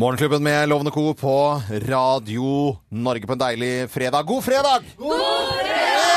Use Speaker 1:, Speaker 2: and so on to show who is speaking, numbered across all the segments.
Speaker 1: Morgenklubben med Lovende Co. på Radio Norge på en deilig fredag. God fredag! God fredag!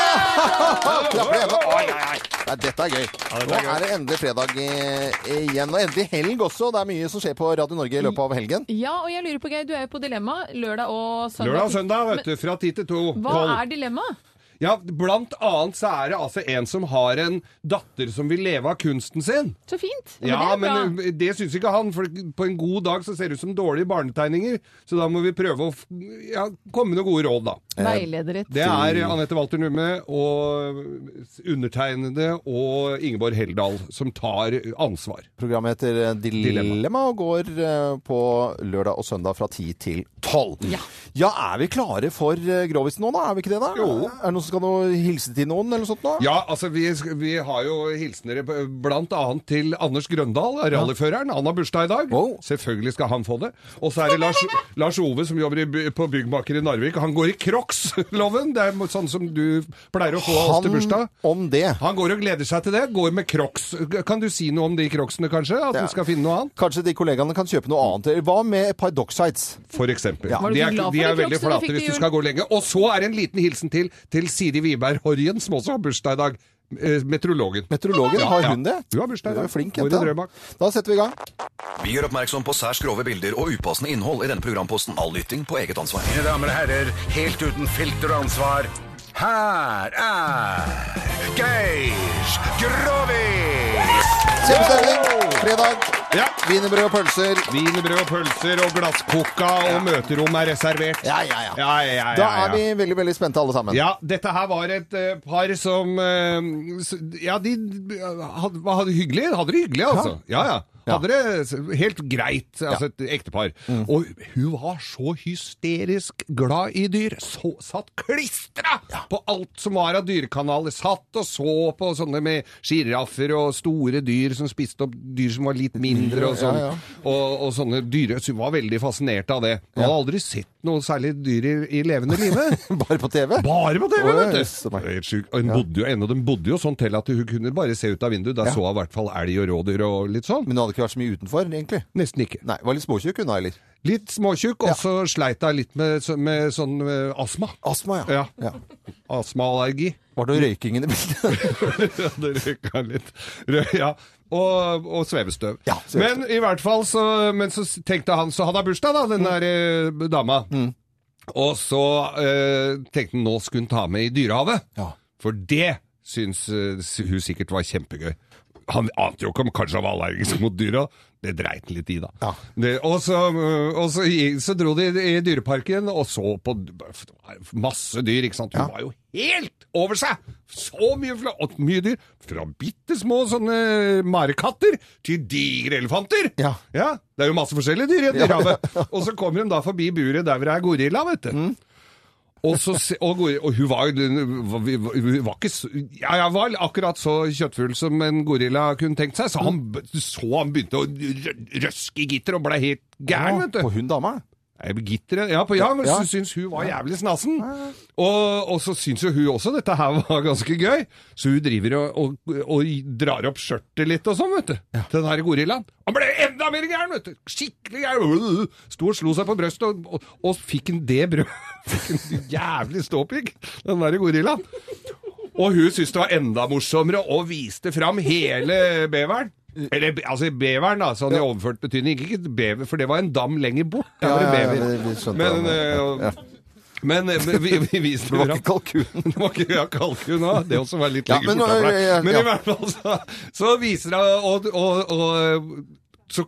Speaker 1: Klapper i hendene. Oi, oi, oi. Nei, dette er gøy. Nå er det endelig fredag eh, igjen. Og endelig helg også. Det er mye som skjer på Radio Norge i løpet av helgen.
Speaker 2: Ja, og jeg lurer på, Geir, du er jo på Dilemma lørdag og søndag.
Speaker 3: Lørdag og søndag, vet du, fra 10 til 2.
Speaker 2: Hva er dilemmaet?
Speaker 3: Ja, blant annet så er det altså en som har en datter som vil leve av kunsten sin.
Speaker 2: Så fint! Men
Speaker 3: Ja,
Speaker 2: det er bra.
Speaker 3: men eh, det syns ikke han, for på en god dag så ser det ut som dårlige barnetegninger. Så da må vi prøve å f- ja, komme med noen gode råd, da.
Speaker 2: Veileder et
Speaker 3: eh, Det er
Speaker 2: Mm.
Speaker 3: Anette Walter Numme og undertegnede og Ingeborg Heldal som tar ansvar.
Speaker 1: Programmet heter eh, Dilemma, og går eh, på lørdag og søndag fra 10 til 12. Ja, er vi klare for eh, grovisen nå, da? Er vi ikke det, da?
Speaker 3: Jo.
Speaker 1: Er det noen som skal noe hilse til noen, eller noe sånt? nå?
Speaker 3: Ja, altså vi, vi har jo hilsener blant annet til Anders Grøndal, rallyføreren. Han har bursdag i dag.
Speaker 1: Wow.
Speaker 3: Selvfølgelig skal han få det. Og så er det Lars, Lars Ove som jobber i, by- på Byggmaker i Narvik. Han går i Crocs-loven. Det er sånn som du pleier å få av oss til bursdag.
Speaker 1: om det.
Speaker 3: Han går og gleder seg til det. Går med Crocs. Kan du si noe om de Crocsene, kanskje? At
Speaker 1: Ja.
Speaker 3: du skal finne noe annet?
Speaker 1: Kanskje de kollegaene kan kjøpe noe annet. Eller Hva med et par docksides?
Speaker 3: For eksempel.
Speaker 1: Ja.
Speaker 2: Var du
Speaker 3: De
Speaker 2: ikke
Speaker 3: er,
Speaker 2: glad for
Speaker 3: de
Speaker 2: de
Speaker 3: er veldig
Speaker 2: Crocsene du
Speaker 3: flate
Speaker 2: fikk
Speaker 3: hvis
Speaker 2: til
Speaker 3: du
Speaker 2: jul?
Speaker 3: skal gå lenge. Og så er det en liten hilsen til, til Siri Wiberg Horjen, som også har bursdag i dag. Eh, Meteorologen.
Speaker 1: Meteorologen, har
Speaker 3: ja.
Speaker 1: hun det?
Speaker 3: Hun har
Speaker 1: Hun
Speaker 3: bursdag i
Speaker 1: er
Speaker 3: dag.
Speaker 1: jo flink,
Speaker 3: Mori
Speaker 1: jenta.
Speaker 3: Drøbak.
Speaker 1: Da setter vi i gang.
Speaker 4: Vi gjør oppmerksom på særs grove bilder og upassende innhold i denne programposten. All lytting på eget ansvar.
Speaker 5: Mine damer og herrer, helt uten filter og ansvar, her er Geir Grovis!
Speaker 1: Kjempestemning! Fredag.
Speaker 3: Ja.
Speaker 1: Wienerbrød og pølser.
Speaker 3: Wienerbrød og pølser og glasskoka og møterom er reservert.
Speaker 1: Ja, ja, ja.
Speaker 3: Ja, ja, ja,
Speaker 1: Da
Speaker 3: ja,
Speaker 1: er vi veldig, veldig spente alle sammen.
Speaker 3: Ja, dette her var et eh, par som eh, s- Ja, de hadde, hadde hyggelig. Hadde det hyggelig, altså. Ja, ja. Hadde det s- helt greit. Altså et ektepar.
Speaker 1: Mm.
Speaker 3: Og hun var så hysterisk glad i dyr. Så, satt klistra på alt som var av dyrekanaler. Satt og så på sånne med sjiraffer og store dyr som spiste opp dyr som var litt mindre og sånn.
Speaker 1: Ja, ja.
Speaker 3: Og, og sånne dyre Så hun var veldig fascinert av det. Hun hadde aldri sett noe særlig dyr i, i levende live.
Speaker 1: Bare på TV.
Speaker 3: Bare på TV,
Speaker 1: Oi,
Speaker 3: vet du!
Speaker 1: så meg.
Speaker 3: Det er Helt sjukt. Og hun bodde jo ennå, den bodde jo sånn til at hun kunne bare se ut av vinduet. Der så hun i hvert fall elg og rådyr og litt sånn.
Speaker 1: Men hun hadde ikke vært så mye utenfor, egentlig.
Speaker 3: Nesten ikke.
Speaker 1: Nei, Var litt småtjukk hun da, eller?
Speaker 3: Litt småtjukk, og så sleit hun litt med, så- med sånn eh, astma.
Speaker 1: Astma, ja.
Speaker 3: Ja. Astmaallergi.
Speaker 1: Var det noe røyking i det bildet?
Speaker 3: Ja, det røyka litt. Røy, ja. Og, og svevestøv.
Speaker 1: Ja, svevestøv.
Speaker 3: Men i hvert fall så, men så tenkte han Så hadde han bursdag, da, den der
Speaker 1: Mm.
Speaker 3: eh, dama. Og så eh, tenkte han nå skulle hun ta med i Dyrehavet.
Speaker 1: Ja.
Speaker 3: For det syns eh, hun sikkert var kjempegøy. Han ante jo ikke om kanskje han var allergisk mot dyra. Det dreit han litt i, da.
Speaker 1: Ja.
Speaker 3: Det, og så, eh, og så, gi- så dro de i dyreparken og så på d- masse dyr, ikke sant. Hun var jo helt over seg! Så mye, fla- og mye dyr. Fra bitte små sånne marekatter til digre elefanter!
Speaker 1: Ja.
Speaker 3: Det er jo masse forskjellige dyr i et dyrehavet. Og så kommer hun da forbi buret der hvor det er gorilla, vet du.
Speaker 1: Mm.
Speaker 3: Og, så, se- og, gori- og hun var, jo- hun var ikke så, ja, jeg var akkurat så kjøttfull som en gorilla kunne tenkt seg, så han, b- så han begynte å rø- røske i gitter og ble helt gæren, vet du.
Speaker 1: På hun dama?
Speaker 3: Nei, Gitteret Ja, på, ja, men
Speaker 1: Ja.
Speaker 3: så syns hun var jævlig snassen. Og, og så syns jo hun også dette her var ganske gøy, så hun driver og, og, og drar opp skjørtet litt og sånn, vet du. Til den her gorillaen. Han ble enda mer gæren, vet du! Skikkelig gæren! Sto og slo seg på brøstet, og, og, og fikk en det brød. Fikk en jævlig ståpikk, den der gorillaen. Og hun syntes det var enda morsommere og viste fram hele beveren. Eller be- altså beveren, da, sånn i overført betydning. Ikke et bever, for det var en dam lenger bort. Der var det
Speaker 1: Ja, ja,
Speaker 3: bever.
Speaker 1: ja, vi- vi skjønte
Speaker 3: men,
Speaker 1: det.
Speaker 3: eh,
Speaker 1: Ja.
Speaker 3: men eh, men vi, vi viste
Speaker 1: Det var
Speaker 3: fram-
Speaker 1: ikke kalkunen.
Speaker 3: det var ikke ja, kalkun òg. Det også var litt
Speaker 1: Ja,
Speaker 3: lenger
Speaker 1: men nå-
Speaker 3: borte for
Speaker 1: ja, ja,
Speaker 3: deg. Men
Speaker 1: ja.
Speaker 3: i hvert fall så, så viser det og, og, og så,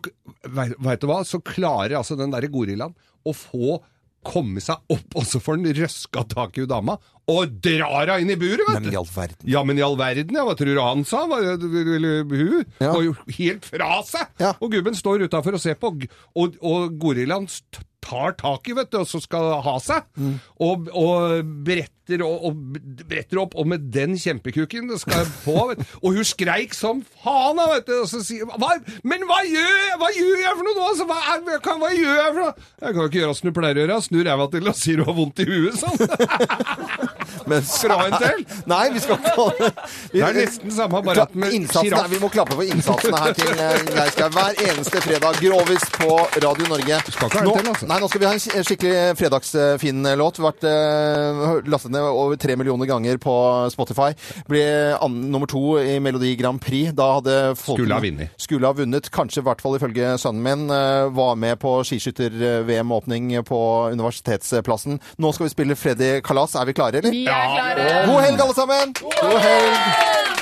Speaker 3: veit, veit du hva? Så klarer altså den derre gorillaen å få komme seg opp, og så får han røska tak i hun dama og drar henne inn i buret, vet
Speaker 1: Men
Speaker 3: du.
Speaker 1: i all verden.
Speaker 3: Ja, men i all verden, ja. Hva tror du han sa? Hva, eller hun
Speaker 1: Ja.
Speaker 3: var jo helt fra seg!
Speaker 1: Ja.
Speaker 3: Og gubben står utafor og ser på, og, og gorillaen st- tar tak i, vet du, og så skal ha seg. Og, og bretter og, og bretter opp, og med den kjempekuken det skal jeg på. Vet. du. Og hun skreik som faen, da, vet du. Og så sier hva, Men hva gjør jeg Hva gjør jeg for noe nå? Altså, hva, er, hva kan, hva gjør jeg for noe? Jeg kan jo ikke gjøre som du pleier å gjøre. Snu ræva til og sier du har vondt i huet, sånn.
Speaker 1: Men,
Speaker 3: Skal du ha en til?
Speaker 1: Nei, vi skal ikke ha det. Vi-
Speaker 3: Det er nesten samme, bare at med
Speaker 1: Innsatsen er-
Speaker 3: giraff.
Speaker 1: Vi må klappe for innsatsene her til eh, Geirskau hver eneste fredag. Grovis på Radio Norge.
Speaker 3: Skal ikke ha
Speaker 1: nå,
Speaker 3: en til, altså.
Speaker 1: Nei, nå skal vi ha en sk- en skikkelig eh, fredagsfin låt. Vært eh, lastet ned over tre millioner ganger på Spotify. Ble an, nummer to i Melodi Grand Prix. Da hadde folk
Speaker 3: Skulle ha vunnet.
Speaker 1: Skulle ha vunnet. Kanskje, i hvert fall ifølge sønnen min, eh, var med på skiskytter-VM-åpning på Universitetsplassen. Nå skal vi spille Freddy Kalas. Er vi klare, eller?
Speaker 2: Vi er klare!
Speaker 1: God helg, alle sammen! God helg!